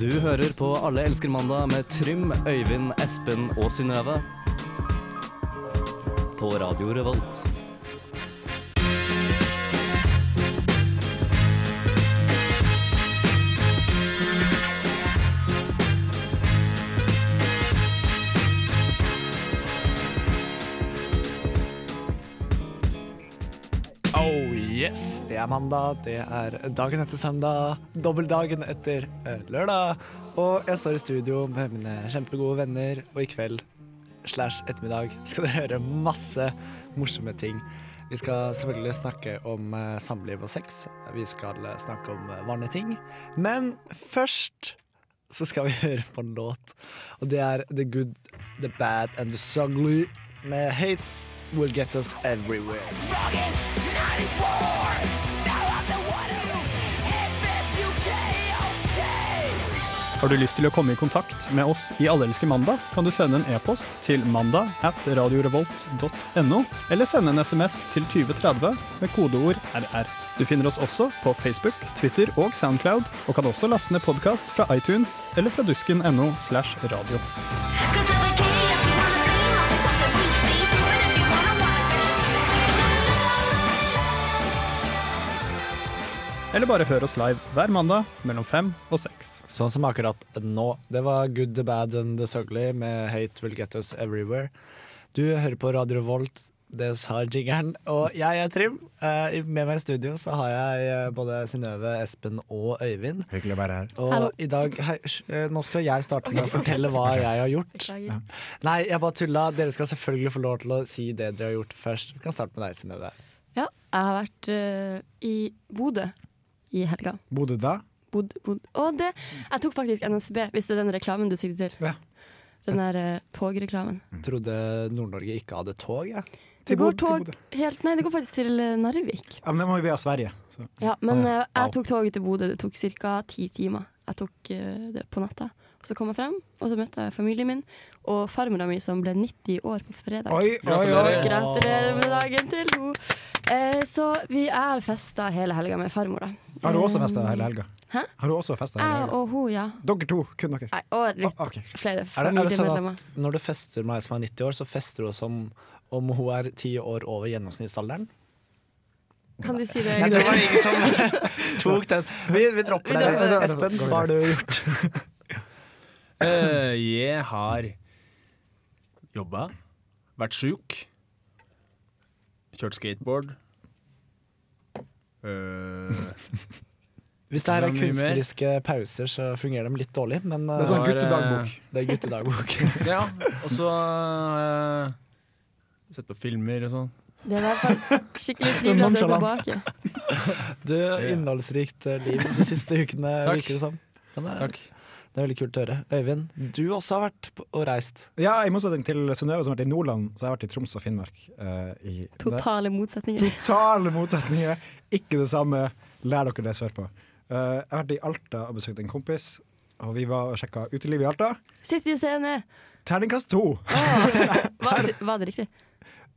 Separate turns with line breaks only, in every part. Du hører på Alle elsker mandag med Trym, Øyvind, Espen og Synnøve. På Radio Revolt.
Oh yes, det er mandag, det er dagen etter søndag, dobbeltdagen etter eh, lørdag. Og jeg står i studio med mine kjempegode venner, og i kveld slash ettermiddag skal dere høre masse morsomme ting. Vi skal selvfølgelig snakke om eh, samliv og sex. Vi skal eh, snakke om eh, vanlige ting. Men først så skal vi høre på en låt, og det er The Good, The Bad and The Sugly med Hate Will Get Us Everywhere.
Har du lyst til å komme i kontakt med oss i Allelske mandag, kan du sende en e-post til mandag at radiorevolt.no, eller sende en SMS til 2030 med kodeord RR. Du finner oss også på Facebook, Twitter og Soundcloud, og kan også laste ned podkast fra iTunes eller fra dusken.no slash radio. Eller bare hør oss live hver mandag mellom fem og seks.
Sånn som akkurat nå. Det var Good, the Bad and the Sugly med Hate Will Get Us Everywhere. Du hører på Radio Revolt, det sa jingeren. Og jeg er Trym. Eh, i- Med meg i studio så har jeg eh, både Synnøve, Espen og Øyvind.
Hyggelig å være her.
Og
Hallo.
i dag hei, hysj, eh, Nå skal jeg starte med å fortelle hva jeg har gjort.
Beklager.
Nei, jeg bare tulla. Dere skal selvfølgelig få lov til å si det dere har gjort først. Vi kan starte med deg, Synnøve.
Ja, jeg har vært eh, i Bodø i helga.
Bodde da?
Bodø, Bodø. Og det, jeg tok faktisk NSB, hvis det er den reklamen du sikter til.
Ja.
Den der eh, togreklamen.
Mm.
Trodde Nord-Norge ikke hadde tog, jeg.
Det går
Bodø, til
tog
Bodø.
helt Nei, det går faktisk til eh, Narvik.
Ja, men det må jo via Sverige. Så.
Ja, men eh,
Au.
jeg tok toget til Bodø. Det tok ca. ti timer. Jeg tok eh, det på natta. Og så kom jeg frem, og så møtte jeg familien min og farmora mi som ble 90 år på fredag.
Oi, oi,
Gratulerer.
oi.
Gratulerer med dagen til henne! Eh, så vi er festa hele helga med farmor, da. Eh,
Har du også festa hele helga?
Hæ?
Har du også festa hele
Jeg
helga?
og hun, ja.
Dere to, kun dere.
Nei, og litt
Ah, ok.
flere
Er det, er det sånn
familiemedlemmer.
at når du fester meg som er 90 år, så fester du som om hun er ti år over gjennomsnittsalderen?
Kan du si det?
Jeg tror det var ingen som tok den. Vi, vi
Vi
dropper
dropper
det.
det.
Espen, hva har du gjort?
Eh, jeg har jobba, vært sjuk, kjørt skateboard. Eh,
Hvis det her
Så
er
mye mer.
kunstneriske pauser, så fungerer de litt dårlig, men
Det er
uh,
sånn
Har, eh,
guttedagbok.
det er guttedagbok.
ja, og så har jeg sett på filmer og sånn.
Det var i hvert fall skikkelig trivelig at du er
Nonchalant.
tilbake.
Du, innholdsrikt eh, liv de siste ukene,
Takk.
virker det som. Men det,
Takk.
er, det er veldig kult å høre. Øyvind, du også har vært på- og reist.
Ja, I motsetning til Synnøve, som har vært i Nordland, så har jeg vært i Troms og Finnmark. eh, i
Totale motsetninger.
Totale motsetninger. Ikke det samme. Lær dere det sørpå. Eh, jeg har vært i Alta og besøkt en kompis, og vi var og sjekka utelivet i Alta.
Sitt i scene!
Terningkast to!
Var, var det riktig?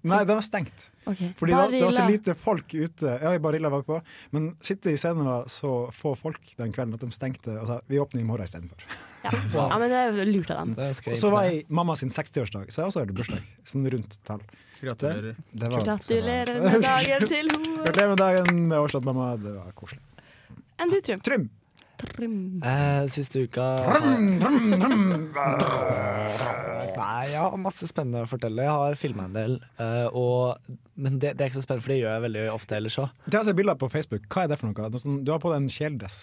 Nei, den var stengt.
OK.
Fordi det var, det var så
Barilla.
lite folk ute. Ja, i Barilla var vi på. Men sitte i scenen var så få folk den kvelden at de stengte og sa vi åpner i morgen istedenfor.
Ja, men det er lurt av dem.
Det skal
Og
jeg
så var
imponere.
jeg i mamma sin 60-årsdag, så jeg også hadde bursdag. Sånn rundt tall.
Gratulerer.
Det var-
Gratulerer med dagen til henne.
Gratulerer med dagen med årsdag, mamma. Det var koselig.
Enn du, Trym?
Trym!
Trym.
Eh, siste uka Nei, jeg har masse spennende å fortelle. Jeg har filma en del. eh, og, men det, det er ikke så spennende, for det gjør jeg veldig ofte ellers òg.
Det har jeg sett bilder på Facebook. Hva er det for noe? Noe sånn- Du har på deg en kjeledress.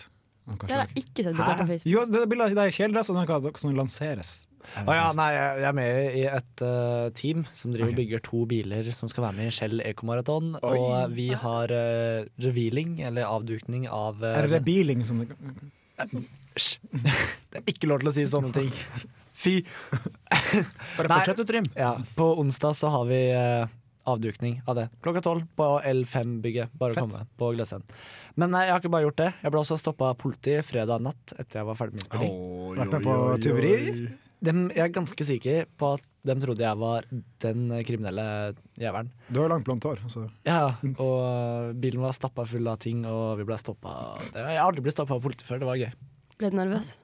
Noe
Det har
slag.
jeg ikke sett bilder på Facebook.
Jo, det er bilder av deg i kjeledress, og noe av dere som lanseres.
Å ja, nei, jeg jeg er med i et eh, team som driver og bygger to biler som skal være med i Shell Ekomaraton. Og vi har eh, revealing, eller avdukning av eh,
Er det biling som det
Det er ikke lov til å si sånne ting. Fy!
Bare
Nei.
fortsett, du, Trym.
Ja, på onsdag så har vi eh, avdukning av det. Klokka tolv på L5-bygget. Bare å
Fett.
komme på Gløshaugen. Men nei, jeg har ikke bare gjort det. Jeg ble også stoppa av politiet fredag natt etter jeg var ferdig med innspilling.
Oi,
Vært med
oi,
på
oi, oi.
tyveri?
Dem, jeg er ganske sikker på at de trodde jeg var den eh, kriminelle jævelen.
Du har jo langt blondt hår. Så.
Ja, og eh, bilen var stappa full av ting, og vi ble stoppa. Jeg har aldri blitt stoppa av politiet før. Det var gøy.
Ble du nervøs?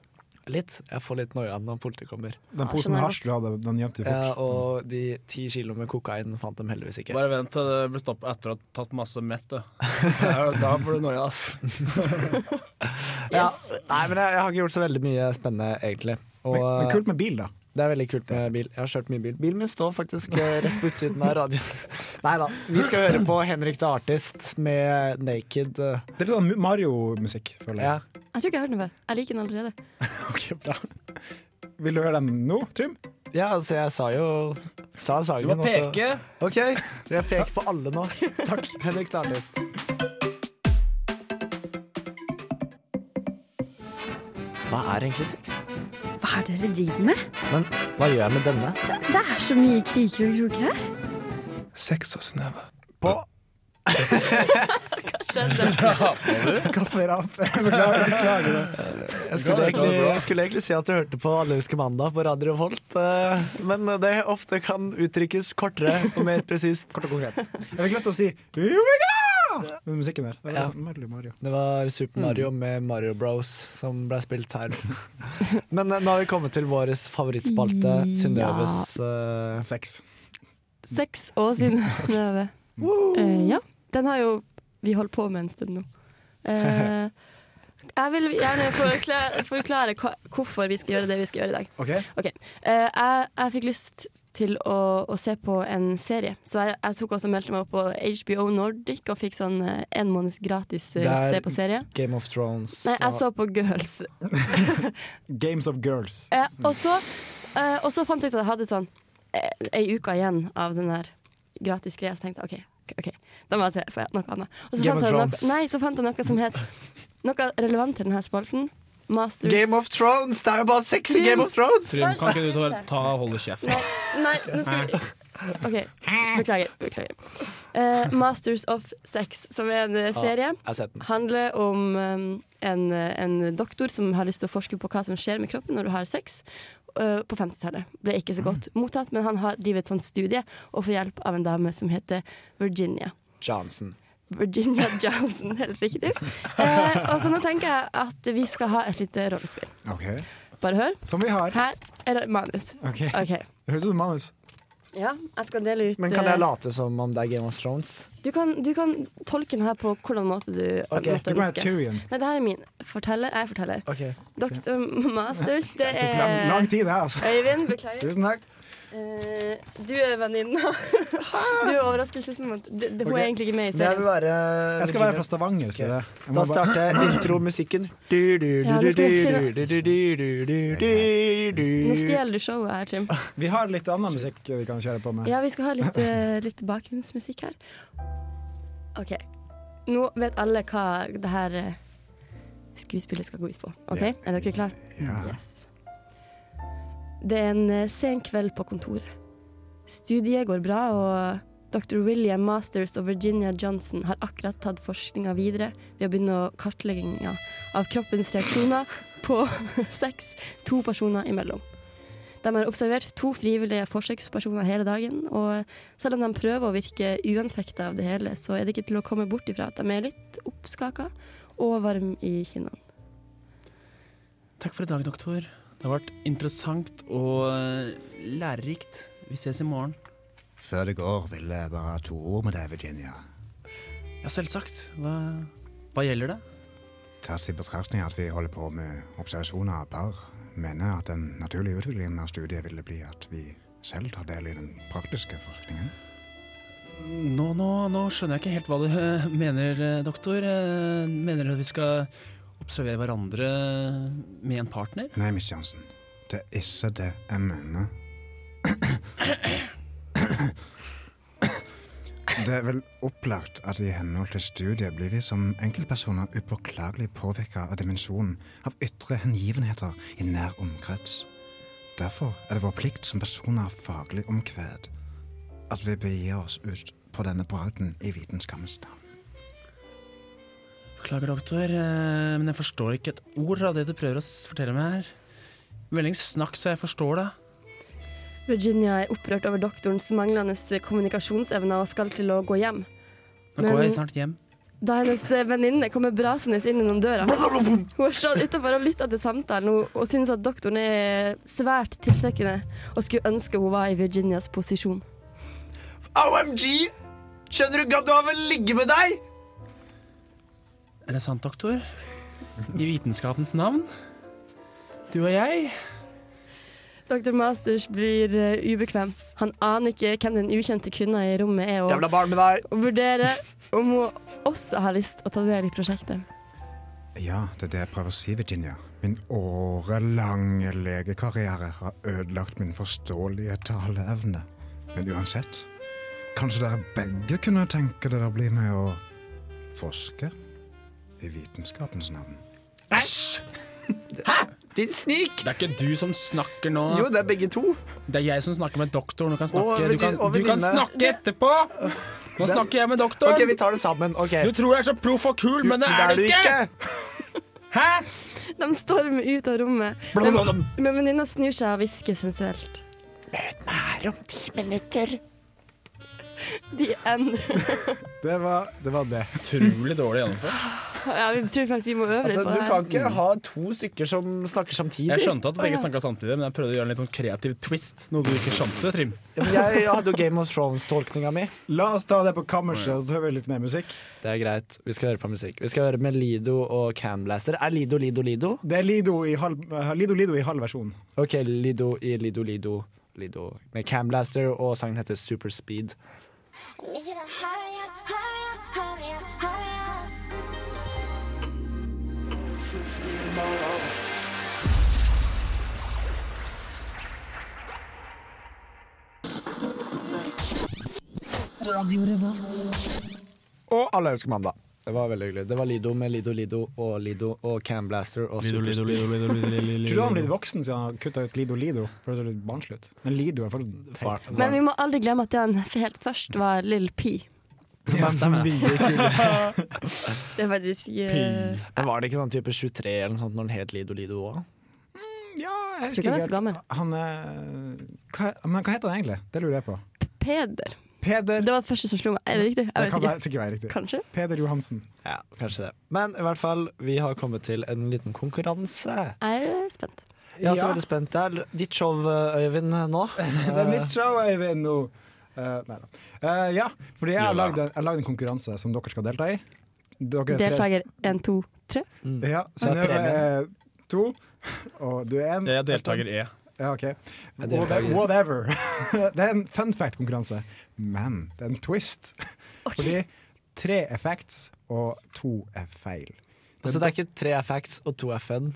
Litt. Jeg får litt noia når politiet kommer.
Den posen med hasj du hadde, den gjemte du
Ja,
fort.
og de ti kilo med kokain fant dem heldigvis ikke.
Bare vent til det blir stopp etter å ha tatt masse mett. Da, da får du noia, ass.
Ja.
Yes.
Nei, men jeg, jeg har ikke gjort så veldig mye spennende, egentlig. Og,
Men, men kult med bil, da.
Det er veldig kult med bil. Jeg har kjørt mye bil. Bilen min står faktisk eh, rett på utsiden av radioen. Nei da. Vi skal høre på Henrik the Artist med 'Naked'. eh,
Det er litt sånn Mario-musikk, føler
Ja.
jeg.
Jeg tror ikke jeg har hørt den før. Jeg liker den allerede.
Ok, bra. Vil du høre den nå, Trym?
ja, så jeg sa jo Sa
Du
sangen,
må
og så-
peke.
OK, jeg peker på alle nå. Takk, Henrik the Artist. Hva er egentlig sex?
Hva er det dere driver med?
Men hva gjør jeg med denne?
Det er så mye kriker og kroker her.
Sex og snøve.
På
Kaffer opp.
Jeg skulle, egentlig, jeg skulle egentlig si at du hørte på Allelske mandag på Radio Volt, eh, men det ofte kan uttrykkes kortere og mer presist.
Kort og konkret. Jeg fikk lyst til å si Omega! Med musikken der. Det var
Ja.
sånn veldig Mario.
Det var Super Mario med Mario Bros som ble spilt her. Men eh, nå har vi kommet til vår favorittspalte, Synnøves eh,
Sex.
Sex og Synnøve. Eh, ja. Den har jo vi holdt på med en stund nå. Eh, jeg vil gjerne forklare, forklare hva, hvorfor vi skal gjøre det vi skal gjøre i dag.
OK?
Ok, eh, jeg, jeg fikk lyst til å, å se på en serie, så jeg, jeg tok også og meldte meg opp på HBO Nordic og fikk sånn eh, en måneds gratis eh,
Der-
se på serie.
Game of Thrones.
Nei, altså, jeg så på Girls.
Games of Girls.
Eh, og, så, eh, og så fant jeg ut at jeg hadde sånn eh, ei uke igjen av den der gratis greia, så tenkte jeg OK, ok, da må jeg se for jeg- noe annet. Og så
Game
fant,
of
jeg noe,
Thrones.
nei, så fant jeg noe som het Noe relevant til denne spalten. Masters
Game of Thrones! Det er jo bare sex i Game of Thrones!
Trym, kan ikke du ta, ta holde kjeft?
Nei, nei, nå skal vi OK, beklager. beklager. Eh, Masters of Sex, som er en
Ah.
eh, serie,
Jeg har sett den.
handler om eh, en, en doktor som har lyst til å forske på hva som skjer med kroppen når du har sex. eh, På 50-tallet. Ble ikke så
Mm.
godt mottatt, men han har drevet et sånt studie og får hjelp av en dame som heter Virginia.
Johnson.
Virginia Johnson, helt riktig. Eh, og så nå tenker jeg at vi skal ha et lite rollespill.
Ok.
Bare hør.
Som vi har.
Her er det manus.
Ok.
OK.
Det høres ut som manus.
Ja, jeg skal dele ut
Men kan
eh,
jeg late som om det er Game of Thrones?
Du kan, du kan tolke den her på hvordan måte du
Du
måtte
kan være
ønske.
Tyrion.
Nei, det her er min. Forteller, jeg forteller.
Ok.
Dr. Masters, det
Lang,
er
lang tid her, altså.
Øyvind, beklager.
Tusen takk.
Eh, du er venninnen. Du er overraskelsesmoment. Det- det- Hun
Ok.
er egentlig ikke med
Men
i
jeg vil
serien.
være
Jeg skal være fra Stavanger, skal jeg det? Jeg må
Da
bare-
starter intromusikken.
Ja, nå skal vi finne- Nå stjeler du showet her, Trim.
Vi har litt annen musikk vi kan kjøre på med.
Ja, vi skal ha litt, eh, litt bakgrunnsmusikk her. OK. Nå vet alle hva det her eh, skuespillet skal gå ut på. OK,
Ja.
er dere klare?
Ja.
Yes. Det er en eh, sen kveld på kontoret. Studiet går bra, og dr. William Masters og Virginia Johnson har akkurat tatt forskninga videre ved å begynne å kartlegginga av kroppens reaksjoner på sex to personer imellom. De har observert to frivillige forsøkspersoner hele dagen, og selv om de prøver å virke uanfekta av det hele, så er det ikke til å komme bort ifra at de er litt oppskaka og varme i kinnene.
Takk for i dag, doktor. Det har vært interessant og eh, lærerikt. Vi ses i morgen.
Før det går, vil jeg bare ha to ord med deg, Virginia.
Ja, selvsagt. Hva, hva gjelder det?
Tatt i betraktning at vi holder på med observasjoner av par, mener jeg at den naturlige utviklingen av studiet ville bli at vi selv tar del i den praktiske forskningen.
Nå, nå, nå skjønner jeg ikke helt hva du eh, mener, eh, doktor. Eh, Mener du at vi skal observere hverandre med en partner?
Nei, Miss Johnson. Det er ikke det jeg mener. Det er vel opplagt at i henhold til studiet blir vi som enkeltpersoner upåklagelig påvirka av dimensjonen av ytre hengivenheter i nær omkrets. Derfor er det vår plikt som personer av faglig omkved at vi begir oss ut på denne bragden i vitenskammens navn.
Beklager, doktor, eh, men jeg forstår ikke et ord av det du prøver å s- fortelle meg her. Veldig snakk, så jeg forstår det.
Virginia er opprørt over doktorens manglende kommunikasjonsevner og skal til å gå hjem.
Nå går
Men-
jeg snart hjem.
da hennes eh, venninne kommer brasende inn gjennom døra. Hun har stått utenfor og lytta til samtalen og, og syns at doktoren er svært tiltrekkende og skulle ønske hun var i Virginias posisjon.
OMG! Skjønner du ikke at du har vel ligge med deg?
Er det sant, doktor? I vitenskapens navn? Du og jeg?
Dr. Masters blir eh, ubekvem. Han aner ikke hvem den ukjente kvinna i rommet er, og,
Jævla barn med deg!
og vurderer om hun også har lyst å ta del i prosjektet.
Ja, det er det jeg prøver å si, Virginia. Min årelange legekarriere har ødelagt min forståelige taleevne. Men uansett, kanskje dere begge kunne tenke dere å bli med å forske i vitenskapens navn.
Æsj! Din snik!
Det er ikke du som snakker nå.
Jo, det er begge to.
Det er jeg som snakker med doktoren. Du kan snakke,
Og-
du kan,
og
du kan
venninne.
snakke etterpå! Nå snakker jeg med
OK,
doktoren.
vi tar det sammen. OK.
Du tror du er så proff og kul, men det er du ikke! Hæ?
De stormer ut av rommet, men, men venninna snur seg og hvisker sensuelt.
Her om ti minutter.
De end.
Det var det. Var det.
Utrolig dårlig gjennomført.
Ja, vi tror faktisk vi må øve litt
Altså,
på
du
det
kan
her.
ikke ha to stykker som snakker samtidig.
Jeg skjønte at begge snakka samtidig, men jeg prøvde å gjøre en litt sånn kreativ twist. Noe du ikke skjønte, Trym.
Ja, men Jeg, jeg hadde jo Game of Thrones-tolkninga mi.
La oss ta det på kammerset, og så hører vi litt mer musikk.
Det er greit. Vi skal høre på musikk. Vi skal høre med Lido og Camblaster. Er Lido Lido Lido?
Det er Lido i halv, eh, Lido, Lido i halv versjon.
OK, Lido i Lido Lido Lido med Camblaster, og sangen heter Super Speed. Og alle elsker mandag. Det var veldig hyggelig. Det var Lido med Lido Lido og Lido og Camblaster og Super Speed.
Tror du han har blitt voksen siden han kutta ut Lido Lido? For det er litt barnslig ut. Men Lido er fortsatt
Far-
Men vi må aldri glemme at det han helt først var Lill Pi.
ja, mye kul.
Det er faktisk eh,
Men Var det ikke sånn type 23 eller noe sånt når den het Lido Lido òg?
Ja, jeg
Tror ikke
husker
han er så gammel.
ikke. Han er hva, Men hva heter han egentlig? Det lurer jeg på.
Peder.
Peder
Det var det første som slo meg. Er det riktig?
Det
Jeg
kan
vet
være,
ikke.
sikkert være riktig.
Kanskje?
Peder Johansen.
Ja, kanskje det. Men i hvert fall, vi har kommet til en liten konkurranse.
Jeg er spent.
Jeg er også veldig spent. Det er ditt show, Øyvind, nå.
Det er nytt show, Øyvind, nå. Eh, nei da. Eh, ja, fordi jeg har
Jo da.
lagd en, jeg har lagd en konkurranse som dere skal delta i. Dere er tre-
Deltaker én, to, tre.
Ja,
er
Synnøve
premien.
er to, og du er én.
Jeg er deltaker E.
Ja, ok.
er deltaker.
Whate- Whatever. det er en fun fact-konkurranse, men det er en twist. Fordi tre er facts, og to er feil.
Så Altså, det er ikke tre er facts og to er fun.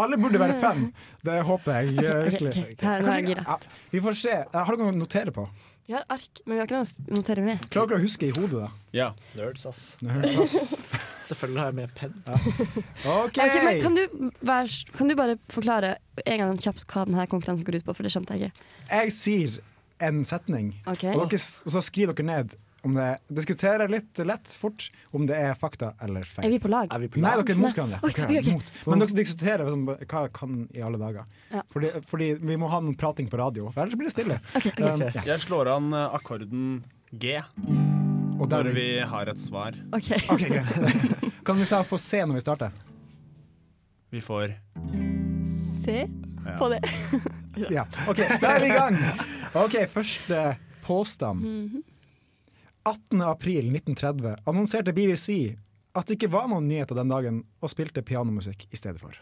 Alle burde være fan. Det håper jeg eh, virkelig.
Ok, ok. Her- nå er jeg gira.
Ja, vi får se. Eh, Har dere noe å notere på?
Vi har ark, men vi har ikke noe å notere med.
Klarer dere å huske i hodet, da?
Ja.
Nerds, ass.
Nå hører jeg plass.
Selvfølgelig har jeg med penn.
OK!
Ok, men kan, du være, s- kan du bare forklare en gang kjapt hva denne konkurransen går ut på, for det skjønte jeg ikke.
Jeg sier en setning,
Ok.
og, dere, s- og så skriver dere ned om det Diskuterer litt lett, fort, om det er fakta eller
Er
feil.
vi på lag?
Er vi på
Nei,
lag?
dere er mot hverandre.
Ok,
Dere er
ok, ok.
mot. Men dere diskuterer sånn, hva kan i alle dager.
Ja.
Fordi, fordi vi må ha noen prating på radio, for ellers blir det stille.
Ok, ok.
Um, ja.
Jeg slår an eh, akkorden G
Og
når
der,
vi har et svar.
Ok.
Ok, greit. Kan vi ta få se når vi starter?
Vi får
Se
Ja.
på det.
Ja, ok, da er vi i gang. Ok, Første påstand. 18. april 1930 annonserte BBC at det ikke var noen nyheter den dagen, og spilte pianomusikk i stedet for.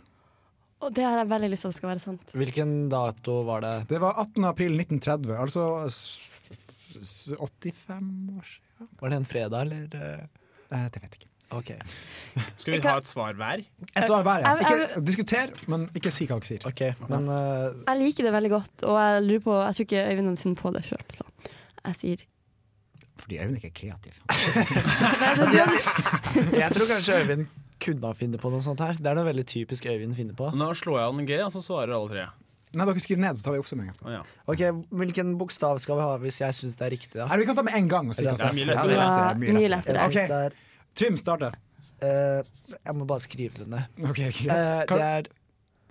Og det har jeg veldig lyst til at skal være sant.
Hvilken dato var det?
Det var 18. april 1930, altså s- s- 85 år siden?
Var det en fredag, eller?
Eh, det vet jeg ikke.
OK.
Skal vi ha et svar hver?
Et svar hver, ja.
Jeg- jeg-
Ikke, diskuter, men ikke si hva dere sier.
Ok, Men eh,
Jeg liker det veldig godt, og jeg lurer på Jeg tror ikke Øyvind hadde funnet på det sjøl, så jeg sier
Fordi Øyvind ikke er kreativ.
jeg tror kanskje Øyvind kunne ha funnet på noe sånt her. Det er noe veldig typisk Øyvind finner på.
Nå slår jeg an G, og så svarer alle tre.
Nei, Dere skriver ned, så tar vi oppsummering etterpå.
Å, ja.
Ok, Hvilken bokstav skal vi ha hvis jeg syns det er riktig, da?
Eller vi kan ta med en gang. og si
Ja,
hva som
det
er mye
feil.
lettere.
ja, mye lettere.
Ok.
Jeg synes det er
Trym starter.
Eh, jeg må bare skrive det ned.
Ok,
Eh,
greit.
det
Kan-
er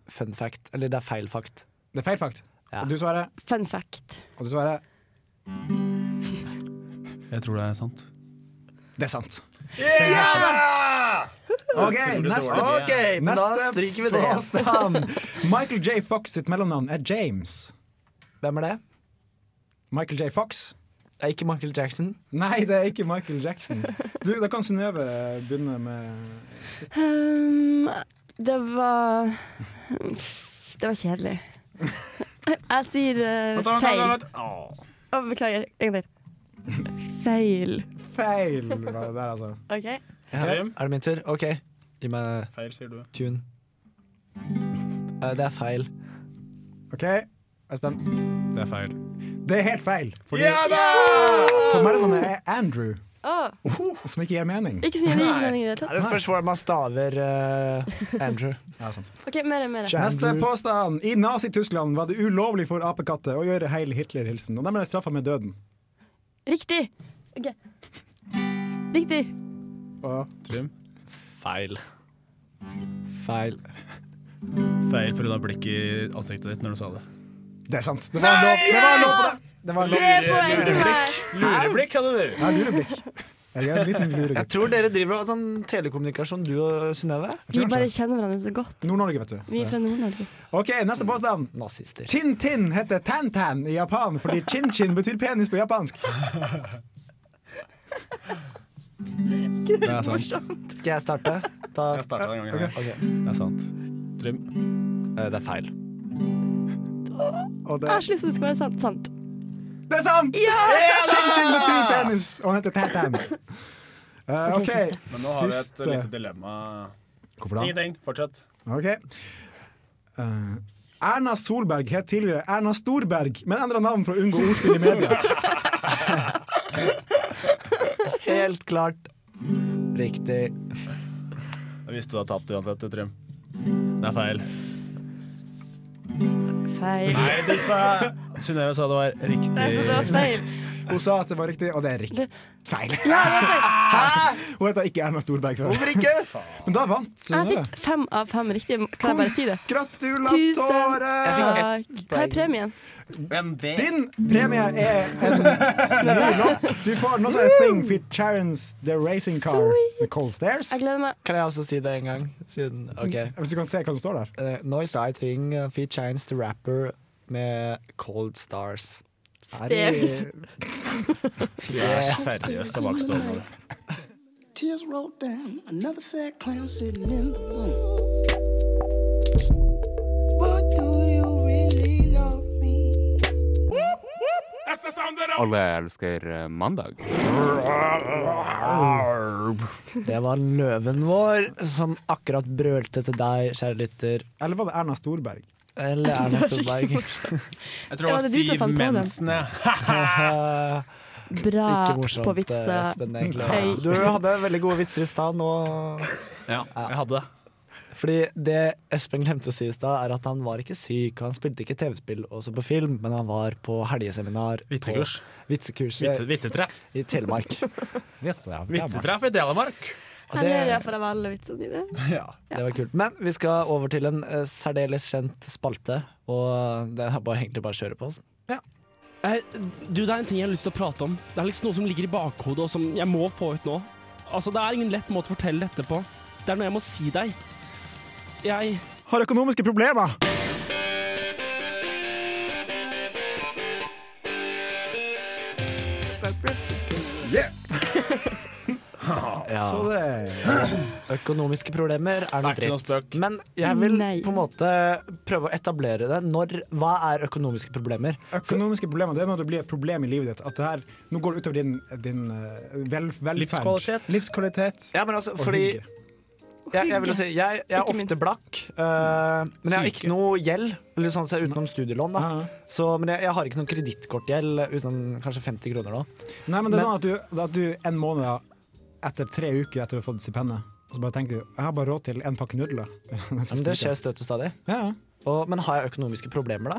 fun fact, eller det er feil fact.
Det er feil fakt.
Ja.
Og du svarer,
Fun fact.
og du svarer
Jeg tror det er sant.
Det er sant.
Ok,
neste.
Ok, men da stryker vi det.
påstand. Michael J. Fox sitt mellomnavn er James.
Hvem er det?
Michael J. Fox?
Det er ikke Michael Jackson.
Nei, det er ikke Michael Jackson. Du, da kan Synnøve begynne med sitt.
Ehm, det var Det var kjedelig. Jeg sier eh, feil. Å, beklager. En gang til. Feil.
Feil var det der, altså.
OK?
Er det min tur? OK, gi meg
Feil, sier du.
tune. Eh, det er feil.
OK, jeg er spent.
Det er feil.
Det er helt feil. Fordi For mellomnavnet er Andrew,
Å,
som ikke gir mening.
ikke si det gir mening i det hele tatt.
Det spørs hvordan man staver eh, Andrew.
Ja, sant.
OK, mer, mer.
Neste påstand. I Nazi-Tyskland var det ulovlig for apekatter å gjøre Heil Hitler-hilsen, og de ble straffa med døden.
Riktig. OK. Riktig.
Og
Feil. Feil.
Feil pga. blikket i ansiktet ditt når du sa det.
det er sant. Det var en lov, det var en lov på
Tre
det! Det var en lov.
poeng til meg.
Lureblikk hadde du!
Jeg har lureblikk. Jeg er en liten
Jeg
luregutt.
tror dere driver av sånn telekommunikasjon, du og Synnøve.
Vi bare kjenner hverandre så godt.
Nord-Norge, vet
Vi er
du.
fra Nord-Norge.
OK, neste påstand.
Nazister.
Tintin heter Tantan i Japan fordi chin-chin betyr penis på japansk.
Det er sant.
Skal jeg starte? Ta,
Jeg starta den gangen. her.
Ok.
Det er sant. Trym.
Eh, det er feil.
Jeg
Og det,
har så lyst til at Ah, det skal være sant. sant.
det er sant! Chin-chin betyr penis, og han heter Tantan. Eh, OK, siste.
dilemma.
Hvorfor da?
Ingenting. Fortsett.
Ok. Eh, Erna Solberg het tidligere Erna Storberg, men endra navn for å unngå ordspill i media.
Helt klart riktig.
Jeg visste du hadde tapt uansett, Trym. Det er feil.
Feil.
Nei, du sa Synnøve sa det var riktig.
Nei, så det var feil.
Hun sa at det var riktig, og det er riktig. Feil.
Ja, det var feil.
Hun heter ikke Erna Storberg før. Hvorfor ikke? Men da vant
Jeg
Synnøve.
fikk fem av fem riktige. Kan jeg bare si det? Tusen
Gratulatore!
takk. Hva er premien?
Din premie er en ny låt. Du får den også en thing fit Charons The Racing Car med Cold Stairs.
Jeg gleder meg.
Kan jeg også si det en gang? Siden, ok.
Hvis du kan se hva som står der.
Uh, Noise I Thing uh, feat Chance the Rapper med Cold Stars.
Er det-
Seriøst tilbakestående.
Tears rolled down, another sad clown sitting in the room. But do you really love me?
Det var løven vår som akkurat brølte til deg, kjære lytter.
Eller var det Erna Storberg?
Eller Erna Solberg.
Jeg tror det
Ja,
var
det er du som
Siv
fant på den.
Mensen, jeg.
Eh,
Bra
Ikke morsomt,
Ah, på
eh,
vitser.
Espen, egentlig.
Tøy.
Du hadde veldig gode vitser i stad nå.
Ja, jeg hadde det.
Fordi det Espen glemte å si i stad, er at han var ikke syk. og Han spilte ikke TV-spill og så på film, men han var på helgeseminar. på
Vitsekurs.
Eh,
Vitsekurset
Vitse, vitsetreff.
i Telemark.
Vitsetreff i Telemark.
Jeg ler iallfall av alle vitsene dine.
Det var kult. Men vi skal over til en eh, særdeles kjent spalte, og det er bare, egentlig bare å kjøre på. altså.
Eh, Du, det er en ting jeg har lyst til å prate om. Det er liksom noe som ligger i bakhodet, og som jeg må få ut nå. Altså, det er ingen lett måte å fortelle dette på. Det er noe jeg må si deg. Jeg
Har økonomiske problemer! Så det
Økonomiske problemer er noe
Er ikke noe
dritt.
spøk.
Men jeg vil
Nei.
på en måte prøve å etablere det. Når, hva er økonomiske problemer?
Økonomiske problemer det er når det blir et problem i livet ditt. At det her, nå går det utover din, din eh, vel, velferd.
Livskvalitet.
Livskvalitet.
Ja, men altså,
Og
fordi
hygge.
jeg, jeg vil jo si, jeg, jeg er
Ikke minst.
ofte blakk, eh, men jeg har
Syke.
ikke noe gjeld, eller sånn sett utenom studielån. da.
Ja.
Så, men jeg, jeg har ikke noen kredittkortgjeld utenom kanskje 50 kroner nå.
Nei, men det
Men-
er sånn at du, at du en måned etter tre uker etter å ha fått stipendet, og så bare tenker du jeg har bare råd til en pakke nudler. Den
Men
siste
det skjer
uka.
støtt og stadig.
Ja, ja.
Og, men har jeg økonomiske problemer, da?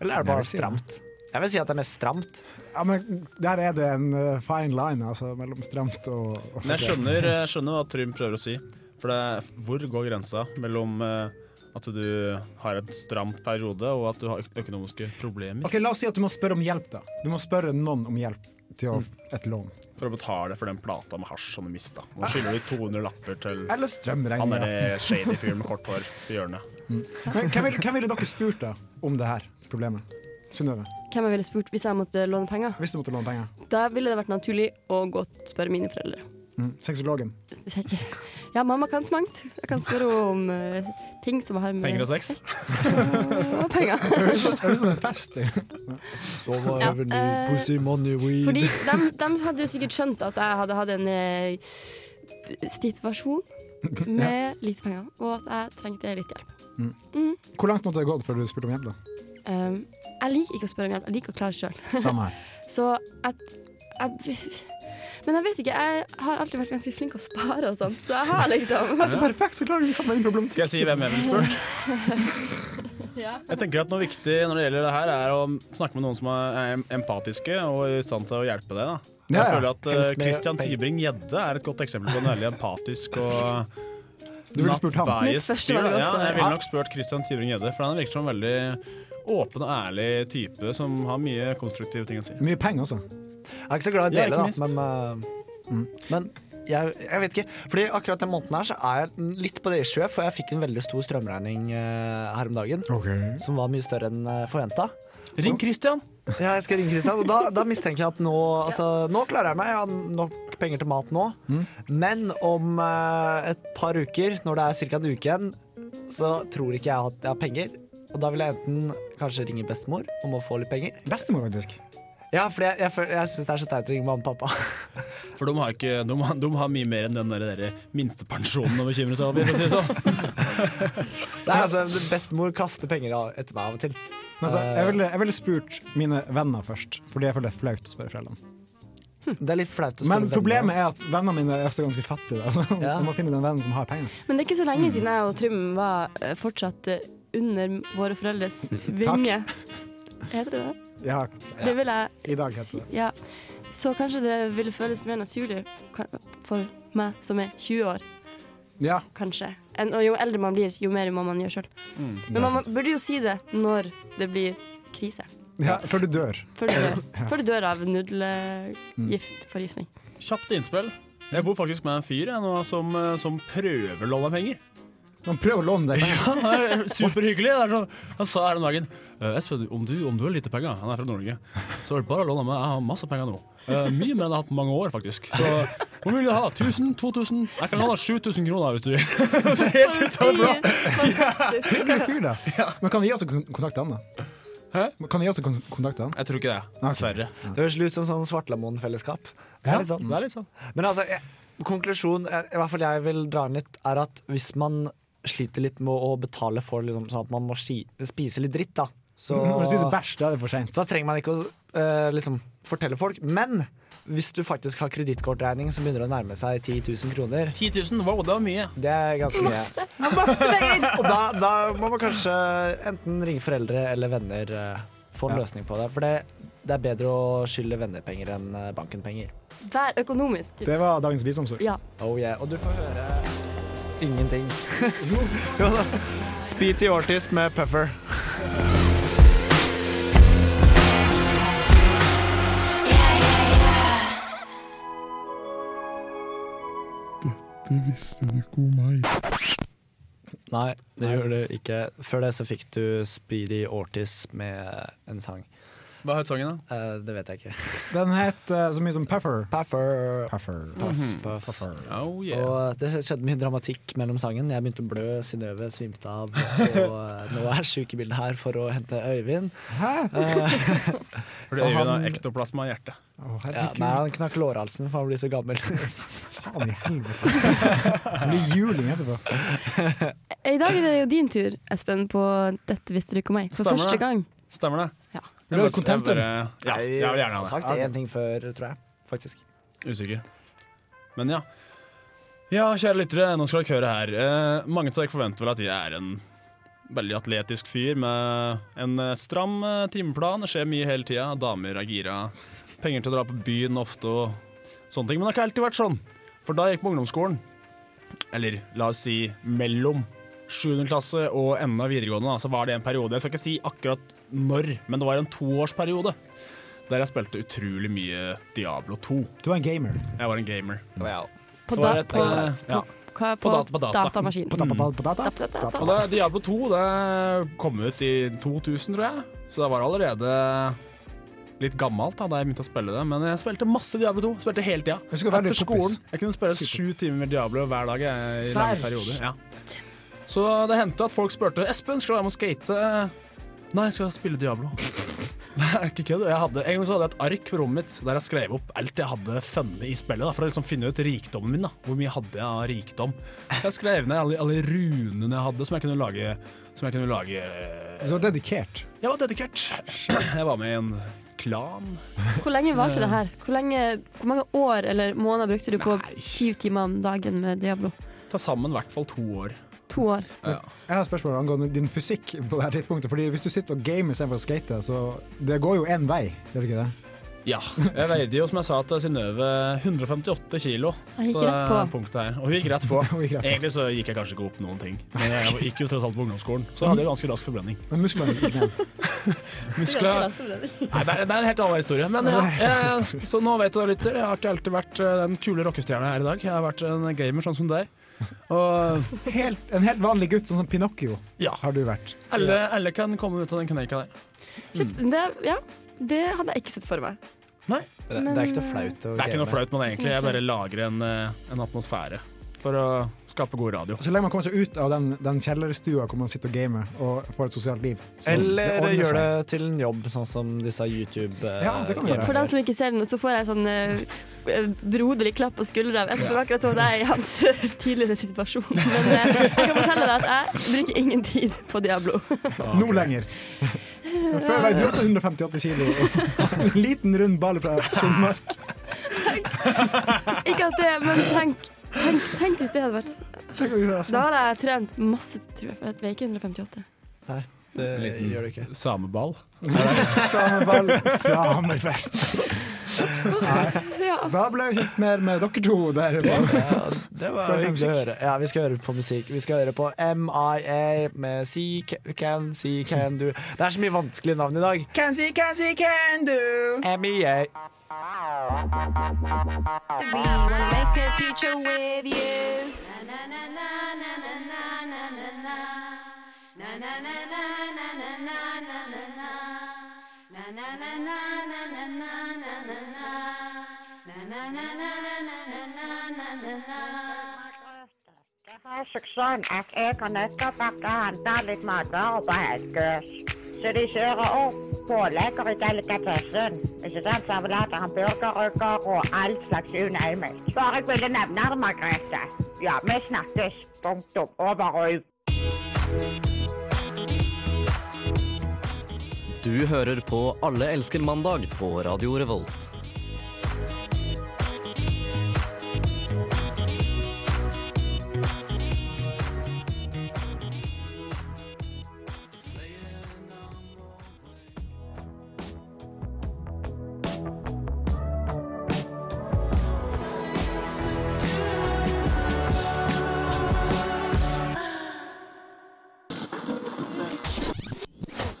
Eller er det
Jeg vil
bare
si det.
stramt? Jeg vil si at det er mest stramt.
ja, men der er det en eh, fine line, altså, mellom stramt og, og
Men jeg skjønner, jeg skjønner hva Trym prøver å si. For det, hvor går grensa mellom eh, at du har en stram periode, og at du har øk- økonomiske problemer?
Ok, La oss si at du må spørre om hjelp. da Du må spørre noen om hjelp.
til å, et lån.
For å betale for den plata med hasj som du mista. Nå skylder du 200 lapper til
Eller strømregninger.
han
eh,
derre shady fyren med kort hår i hjørnet.
Men hvem ville, hvem ville dere spurt da om det her problemet? Synnøve,
Hvem jeg ville spurt hvis jeg måtte låne penger?
hvis du måtte låne penger.
Da ville det vært naturlig å godt spørre mine foreldre.
Mm. Sexologen.
Så jeg ikke- Ja, mamma kan så mangt. Jeg kan spørre henne om eh, ting som har med
Penger og sex.
og penger.
Høres ut-
høres ut som sånn en fest.
Så var
Ja,
heavenly
eh,
pussy money weed.
Fordi de, hadde jo sikkert skjønt at jeg hadde hatt en eh, situasjon med lite penger, og at jeg trengte litt hjelp.
Mm.
Mm.
Hvor langt måtte det gått før du spurte om hjelp? da?
Um, jeg liker ikke å spørre om hjelp, jeg liker å klare sjøl.
Samme her.
Så jeg, jeg Men jeg vet ikke, jeg har alltid vært ganske flink å spare og sånt, så jeg har liksom
Det er så
perfekt, så klarer vi sammen problemet.
Skal jeg si hvem jeg ville spurt?
Ja.
Jeg tenker at noe viktig når det gjelder det her, er å snakke med noen som er em- empatiske og i stand til å hjelpe deg. da.
Ja,
Jeg
ja.
føler at eh,
Helst med
Christian
penger.
Tybring-Gjedde er et godt eksempel på en veldig empatisk og
Du ville spurt ham.
nattveis
Mitt første
fyr, da.
valg også.
Ja,
Ja.
jeg ville nok spurt Christian Tybring-Gjedde, for han virker som en veldig åpen og ærlig type som har mye konstruktive ting å si.
Mye penger også.
Jeg er ikke så glad i å
Ja,
dele,
ikke
da, men, eh, men jeg, jeg vet ikke. Fordi akkurat den måneden her så er jeg litt på det issuet, for jeg fikk en veldig stor strømregning eh, her om dagen. Som var mye større enn uh, forventa.
Ring Christian!
Ja, jeg skal ringe Christian. Og da, da mistenker jeg at nå, altså, nå klarer jeg meg, jeg har nok penger til mat nå. Men om eh, et par uker, når det er ca. en uke igjen, så tror ikke jeg at jeg har penger. Og da vil jeg enten kanskje ringe bestemor om å få litt penger.
Bestemor, faktisk.
Ja, for jeg, jeg, føler- jeg syns det er så teit å ringe mamma og pappa.
For de har, ikke, de, har- de har mye mer enn den der, der minstepensjonen å bekymre seg over, for å si det sånn.
Nei, altså, Bestemor kaster penger av- etter meg av og til.
Men altså,
Eh,
jeg, ville, jeg ville spurt mine venner først, fordi jeg føler det er flaut å spørre foreldrene.
Det er litt flaut å spørre
Men
venner.
problemet er at vennene mine er også ganske fattige. Altså. Jeg må finne den vennen som har penger.
Men det er ikke så lenge siden jeg og Trym var eh, fortsatt eh, under våre foreldres vinge. Heter det det?
Ja,
Det vil jeg
I dag heter det.
Ja. Så kanskje det ville føles mer naturlig kan- for meg som er 20 år,
Ja.
kanskje. Enn- Og jo eldre man blir, jo mer må man gjøre sjøl. Men man må- burde jo si det når det blir krise.
ja, før du dør.
Før du dør, før du dør av nudelgiftforgiftning.
Kjapt innspill. Jeg bor faktisk med en fyr jeg, nå, som, eh, som prøver å låne meg penger.
Man prøver å låne deg
Ja, han er superhyggelig. Det er sånn- Han sa her om dagen «Eh, Espen, om du, om du har lite penger Han er fra Norge. Så er det bare å låne meg. Jeg har masse penger nå. Eh, mye mer enn jeg har hatt på mange år, faktisk. Så hvor mye vil du ha? 1000? 2000? Jeg kan låne 7000 kroner hvis du vil. Så helt ut av det blå.
Hyggelig fyr, da. Men kan vi også kon- kontakte han, da? Men Kan vi også kon- kontakte han?
Jeg tror ikke det.
Altså,
Dessverre.
Det høres ut som sånn Svartlamoen-fellesskap. Det
Ja,
er litt sånn.
det er litt sånn.
Men altså, jeg, konklusjonen er- i hvert fall jeg vil dra inn litt, er at hvis man sliter litt med å betale for liksom, sånn at man må ski, spise litt dritt, da så,
Når du spiser bæsj, da er det for seint.
så trenger man ikke å eh, liksom, fortelle folk. Men hvis du faktisk har kredittkortregning som begynner å nærme seg 10 000 kroner
10 000, wow, det var mye.
Det er ganske mye.
Masse.
Og da, da må man kanskje enten ringe foreldre eller venner. eh, få en
Ja.
løsning på det. For det, det er bedre å skylde venner penger enn eh, banken penger.
Vær økonomisk.
Det
var dagens visdomsord.
Ja.
Oh yeah. Og du får høre ingenting. jo da. Speedy Ortiz med Puffer.
Dette visste du ikke om meg.
Nei, det gjør du ikke. Før det så fikk du Speedy Ortiz med en sang.
Hva het sangen,
da? det vet jeg ikke.
Den het eh, så mye som Puffer.
Puffer.
Puffer.
Puff,
Mhm.
puff.
Oh,
Og det skjedde mye dramatikk mellom sangen. Jeg begynte å blø, Synnøve svimte av. Og eh, nå er sykebildet her for å hente Øyvind. Eh,
Fordi
og
Øyvind
han-
har ektoplasma i hjertet.
ja, nei, han knakk lårhalsen for han blir så gammel.
Faen i helvete. Det blir juling etterpå.
I dag er det jo din tur, Espen, på Dette visste du ikke om meg. For
Stemmer
første
det.
gang.
Stemmer det?
Ja.
Jeg bare- jeg bare- Ja, jeg vil gjerne ha det.
Sagt én ting før, tror jeg. Faktisk.
Usikker. Men ja. Ja, kjære lyttere, nå skal dere høre her. Eh, mange av dere forventer vel at jeg er en veldig atletisk fyr med en eh, stram eh, timeplan. Det skjer mye hele tida. Damer er gira. Penger til å dra på byen ofte og sånne ting. Men det har ikke alltid vært sånn. For da jeg gikk på ungdomsskolen, eller la oss si mellom 7. klasse og enden av videregående, da, så var det en periode Jeg skal ikke si akkurat når, men det var en toårsperiode Der jeg spilte utrolig mye Diablo 2.
Du var en gamer?
Jeg var en gamer.
Det var jeg også.
På
Det var
da-
et,
på-
eh,
på-
ja.
hva er på datamaskinen?
Mm.
På data?
Og det, Diablo 2 det kom ut i 2000, tror jeg. Så det var allerede litt gammelt da, da jeg begynte å spille det. Men jeg spilte masse Diablo 2. Spilte hele tida.
Jeg husker å være
Etter
litt kompis.
skolen. Jeg kunne spille sju timer med Diablo hver dag jeg, i
Serr?
lange perioder. Ja. Så det hendte at folk spurte Espen, skal du være med å skate. Nei, jeg skal spille Diablo. Det er ikke kødd. Jeg hadde, en gang så hadde jeg et ark på rommet mitt der jeg skrev opp alt jeg hadde funnet i spillet. Da, for å liksom finne ut rikdommen min. Da. Hvor mye hadde jeg av rikdom? Så jeg skrev ned alle, alle runene jeg hadde som jeg kunne lage. Som jeg kunne lage eh,
Du var dedikert.
Jeg var dedikert. Jeg var med i en klan.
Hvor lenge varte det her? Hvor, lenge, hvor mange år eller måneder brukte du på syv timer om dagen med Diablo?
Til sammen i hvert fall to år.
To år.
Ja.
Jeg har et spørsmål angående din fysikk på det her tidspunktet. Fordi Hvis du sitter og gamer istedenfor å skate, så det går jo én vei, gjør det ikke det?
Ja. Jeg veide jo, som jeg sa til Synnøve, 158 kilo
Jeg gikk
det
rett på.
punktet her. Og hun gikk rett på.
gikk rett på.
Egentlig så gikk jeg kanskje ikke opp noen ting. Men jeg gikk jo tross alt på ungdomsskolen, så hadde jeg ganske rask forbrenning.
Men musklene gikk ned.
Muskler Nei, det er, det er en helt annen historie. Men ja, eh, så nå vet du det, lytter. Jeg har ikke alltid vært eh, den kule rockestjerna her i dag. Jeg har vært en gamer sånn som deg. Og
Helt, en helt vanlig gutt, sånn som Pinocchio,
Ja.
har du vært.
alle, alle kan komme ut av den kneika der.
Shit, det, ja, det hadde jeg ikke sett for meg.
Nei.
Det, det er ikke noe flaut å
Det er ikke noe
game.
flaut med det, egentlig. Jeg bare lager en, eh, en atmosfære for å skape god radio.
Så lenge man kommer seg ut av den, den kjellerstua hvor man sitter og gamer og får et sosialt liv. Så
Eller
ordner
gjør det
seg.
til en jobb, sånn som disse YouTube eh,
Ja, det kan vi
For dem som ikke ser den, så får jeg sånn eh, broderlig klapp på skuldra av Espen, akkurat som deg i hans eh, tidligere situasjon. Men eh, jeg kan fortelle deg at jeg bruker ingen tid på Diablo.
Nå lenger. Men Før veide du også 158 kilo. En liten, rund ball fra Finnmark.
Ikke at det, men tenk, tenk, tenk hvis det hadde vært Shit, Da hadde jeg trent masse, tror jeg, for jeg veier ikke 158.
Nei, det
En liten
gjør det ikke.
sameball.
Samme ball fra Hammerfest. Nei. Da ble jeg kjent mer med dere to der.
Det var
Skal vi høre
hyggelig å høre. Ja, vi skal høre på musikk. Vi skal høre på MIA med See Ca- Can, See Can Do. Det er så mye vanskelige navn i dag.
Can see, can see, can do.
MIA.
We wanna make a future with you.
har suksessen at jeg har nettopp vært og handlet litt matvarer på Helgøs. Så de kjører opp pålegger i delikatessen. Ikke sant? Servelater, hamburgerrygger og all slags unøymel. Bare jeg ville nevne det, Margrethe. Ja, vi snakkes. Punktum. Over og ut.
Du hører på Alle elsker mandag på Radio Revolt.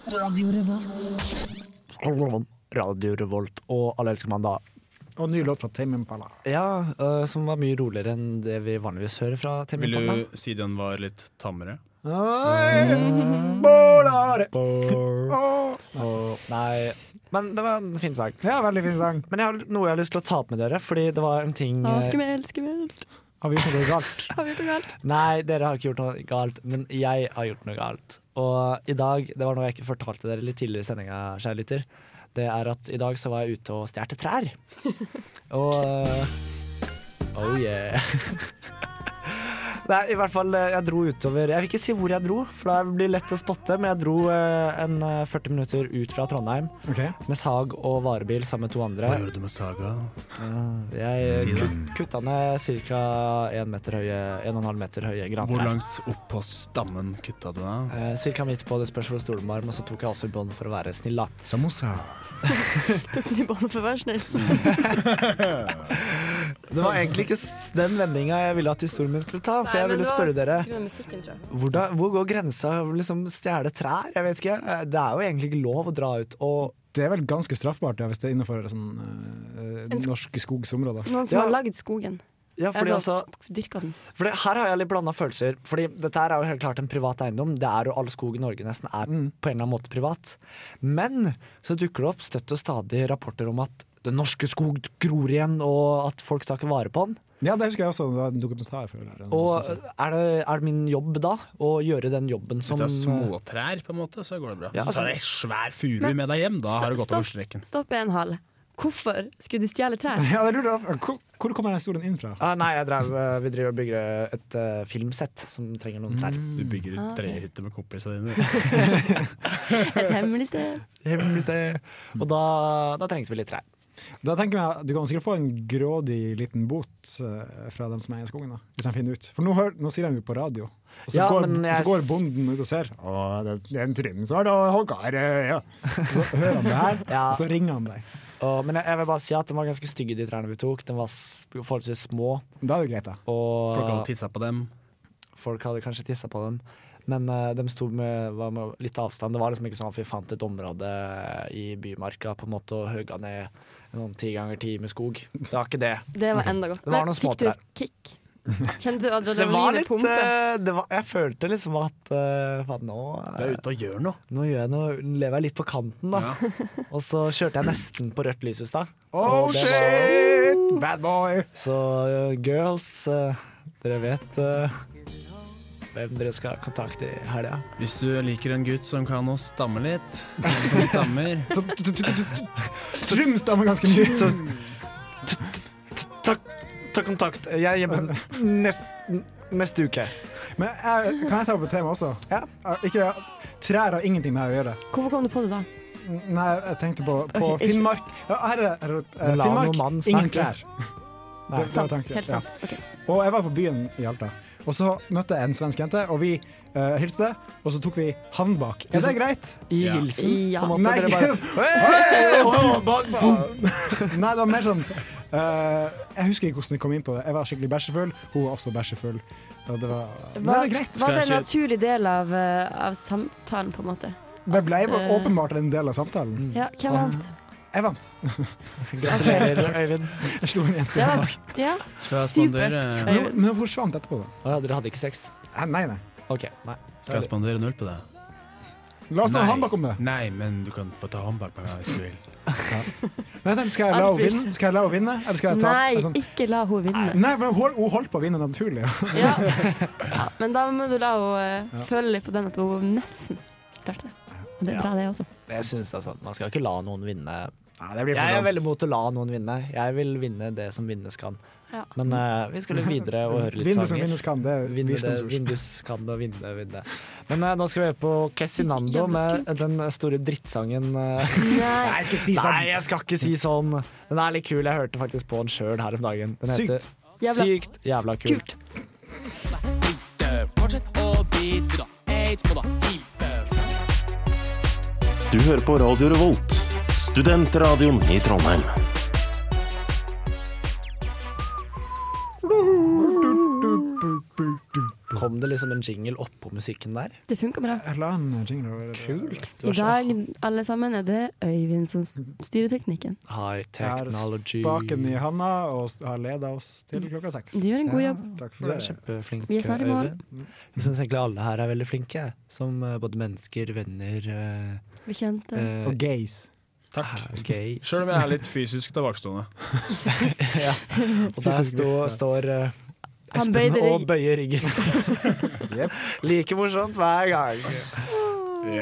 Radio Revolt. Radio Revolt og Alle elsker mandag.
Og ny låt fra Tame Impala.
Ja, eh, som var mye roligere enn det vi vanligvis hører fra Tame
Vil
Impala.
du si den var litt tammere?
Mm.
Bålare.
Åh, nei Men det var en fin sang.
Ja, veldig fin sang.
Men jeg har noe jeg har lyst til å ta opp med dere, fordi det var en ting
Å,
eh,
skummelt, skummelt.
Har vi gjort noe galt?
Har vi gjort noe galt?
Nei, dere har ikke gjort noe galt, men jeg har gjort noe galt. Og i dag, det var noe jeg ikke fortalte dere litt tidligere i sendinga, kjære lytter, det er at i dag så var jeg ute og stjal trær. Og eh, Oh yeah. Nei, i hvert fall, eh, jeg dro utover Jeg vil ikke si hvor jeg dro, for det blir lett å spotte, men jeg dro eh, en eh, 40 minutter ut fra Trondheim
Ok.
med sag og varebil sammen med to andre.
Hva gjør du med saga? Si
Jeg
det.
kut, kutta ned ca. 1,5 meter høye, en og en halv meter høye grantrær.
Hvor langt opp på stammen kutta du av?
Eh, cirka midt på, det spørs hvor stor den var, men så tok jeg også i bånd for å være snill, da.
Samosa.
Tok den i båndet for å være snill.
Det var egentlig ikke s- den vendinga jeg ville at historien min skulle ta, for jeg ville spørre dere
musikken, tror jeg.
hvordan, hvor går grensa? Liksom Stjele trær? Jeg vet ikke. Eh, Det er jo egentlig ikke lov å dra ut og
Det er vel ganske straffbart ja, hvis det er innenfor sånn, eh,
En sk-
norske skogsområder.
Noen som har lagd skogen.
Ja, fordi
altså, Dyrka den.
Fordi her har jeg litt blanda følelser. Fordi dette her er jo helt klart en privat eiendom. Det er jo All skog i Norge nesten er på en eller annen måte privat. Men så dukker det opp støtt og stadig rapporter om at den norske skog gror igjen, og at folk tar ikke vare på den.
Ja, det husker jeg også. Det var en dokumentar. For, eller,
Og
noe
er
sånt.
det, er det min jobb da å gjøre den jobben som
sånn
eh,
Hvis det er småtrær, på en måte, så går det bra.
Ja,
Hvis du tar
altså-
ei svær furu med deg hjem, da har du gått over streken.
Stopp en hal. Hvorfor skulle de stjele trær?
Ja, det lurer jeg på. Hvor, hvor kommer den historien inn fra?
Ah, nei, jeg drev, eh, vi driver og bygger et eh, filmsett som trenger noen trær.
Du bygger
Ah, ok.
trehytte med kompisene dine.
Et hemmelig sted.
Hemmelig sted. Og da, da trengte vi litt trær.
Da tenker jeg at Du kan sikkert få en grådig liten bot eh, fra dem som eier skogen, da, hvis de finner ut. For nå, hør, nå sier de jo på radio, og så,
Ja,
går,
men jeg
så går
s-
bonden ut og ser. Å, det det er en trym som har da hogga her, eh, ja. Og Så hører han det her,
Ja.
og så ringer han deg.
Og, men jeg, jeg vil bare si at de var ganske stygge, de trærne vi tok. De var s- forholdsvis små.
Da er det greit, da.
Og
Folk hadde tissa på dem.
folk hadde kanskje tissa på dem. Men eh, de sto med, var med litt avstand. Det var liksom ikke sånn at vi fant et område eh, i bymarka på en måte og høga ned noen ti ganger ti med skog. Det var ikke det.
Det var enda godt.
Det var
Men
noen
fikk du
småtrær.
et kick? Kjente
Det
du
var
adrenalinet
litt
pumpe?
eh, det var, Jeg følte liksom at eh, faen, nå
Du er ute og gjør noe.
Nå, gjør jeg noe, nå lever jeg litt på kanten, da. og så kjørte jeg nesten på rødt lys i stad.
Oh
Og det var-
shit, bad boy!
Så eh, girls, eh, dere vet eh, hvem dere skal kontakte i helga.
Hvis du liker en gutt som kan å stamme litt, en som stammer
Så t- t- t- t- Trym stammer ganske mye. Så
Takk. Ta kontakt. Jeg er hjemme nest- neste uke.
Men jeg, kan jeg ta opp et tema også? Eh, Ikke, trær har ingenting med det å gjøre.
Hvorfor kom du på det da?
Nei, jeg tenkte på, på
Ok, ikke-
Finnmark. Ja, her er det eh,
Men la noen
Finnmark,
mann
ingen
snakke.
trær.
Nei.
Det- det var
Sant.
tanken,
Helt
ja.
sant.
Og jeg var på byen i Alta, og så møtte jeg en svensk jente, og vi eh, hilste, og så tok vi håndbak. Er det greit?
I hilsen,
Ja.
på en måte.
Nei,
Dere bare
Hei, å, bak, faen. Nei, det var mer sånn eh, Jeg husker ikke hvordan vi kom inn på det. Jeg var skikkelig bæsjefull, hun var også bæsjefull. Og det var, men det
Var,
er greit.
var det en naturlig del av, eh, av samtalen, på en måte?
Det ble jo
Eh,
åpenbart en del av
Mm.
samtalen.
Ja, hvem vant?
Jeg vant.
Gratulerer, Øyvind.
Jeg slo en jente.
Det var, ja.
Skal jeg
Supert.
spandere,
Men men hun forsvant etterpå, da.
Å ja, dere hadde ikke sex?
Eh, Nei, nei.
OK, nei.
skal jeg spandere en øl på deg?
La oss ta
Nei.
håndbak om det.
Nei, men du kan få ta håndbak med meg hvis du vil.
Men jeg tenkte, skal jeg la henne vinne, Skal jeg la henne vinne? eller skal jeg ta
Nei,
sånn-
ikke la henne vinne.
Nei, men hun, hun holdt på å vinne naturlig.
Ja. Ja, men da må du la henne
Ja.
eh, føle litt på den at hun nesten klarte det. Og det er
Ja.
bra, det også.
Jeg synes det er sånn. Man skal ikke la noen vinne.
det
jeg
blir for
er
langt.
veldig mot å la noen vinne. Jeg vil vinne det som vinnes kan.
Ja.
Men eh, vi skulle videre og høre litt
Vinne som
sanger.
vinnes kan, det er
Vinne det,
visdomsord.
vindus kan det, vinne, vinne. Men eh, nå skal vi høre på Cezinando med den store drittsangen. eh.
Nei, ikke si sånn!
Nei, jeg skal ikke si sånn. Den er litt kul. Jeg hørte faktisk på den sjøl her om dagen. Den heter
Sykt.
Jævla-
Sykt jævla kult.
Fortsett å bidra. Eit på da.
Du hører på Radio Revolt, studentradioen i Trondheim.
Kom det liksom en jingle oppå musikken der?
Det funker bra.
Jeg la en jingle over det.
Kult.
I dag, alle sammen, er det Øyvind som
Mhm.
styrer teknikken.
High
Jeg har
technology.
spaken i handa og s- har leda oss til klokka seks.
Du gjør en god jobb.
Takk for
Du er
det.
kjempeflink.
Vi er snart i mål.
Øyvind. Mm. Jeg syns egentlig alle her er veldig flinke. Som eh, både mennesker, venner eh,
Bekjente.
eh,
Og gays.
eh, gay.
Sjøl om jeg er litt fysisk tilbakestående.
ja. Og der
Fysisk
sto,
vits,
står eh,
Han
Espen
bøyde
og
rygg.
bøyer ryggen. like morsomt hver gang.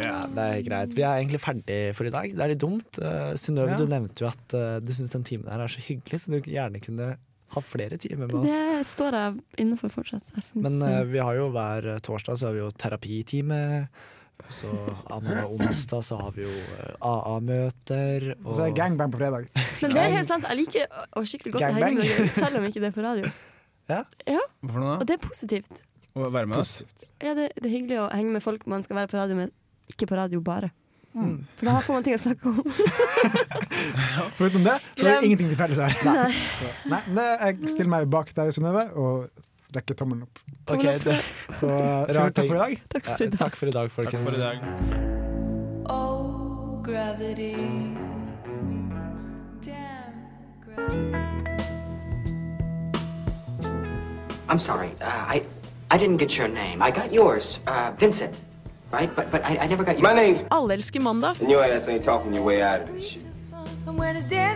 Ja, det er greit. Vi er egentlig ferdig for i dag. Det er litt dumt. Uh, Synnøve,
Ja.
du nevnte jo at eh, du syns den timen her er så hyggelig, så du gjerne kunne ha flere timer med oss.
Det står jeg innenfor fortsatt. Jeg synes,
Men eh,
eh,
vi har jo hver eh, torsdag så har vi jo terapitime. Så annenhver onsdag så har vi jo eh, AA-møter.
Og så er det gangbang på fredag.
men det er helt sant. Jeg liker å- å skikkelig godt å henge
Gangbang.
med deg, selv om ikke det er på radio.
Ja.
Ja,
Hvorfor noe
Og
da?
det er positivt.
Å være med oss?
Ja, det, det er hyggelig å henge med folk man skal være på radio med, ikke på radio bare.
Mm.
For da får man ting å snakke om.
Foruten det, så er
Glem.
det ingenting til felles her.
Nei.
Nei, det, jeg stiller meg bak deg, Synnøve, og rekker tommelen opp.
Ok, det,
Så eh, skal vi si takk for i dag?
Takk for i dag, ja, takk for i dag folkens.
for i dag.
Oh, gravity. Damn gravity.
I'm sorry. Uh, I I didn't get your name. I got yours, uh, Vincent, right? But but I, I never got your
My name's-
Alle elsker mandag.
And your ass ain't talking your way out of this shit.
And when it's dead,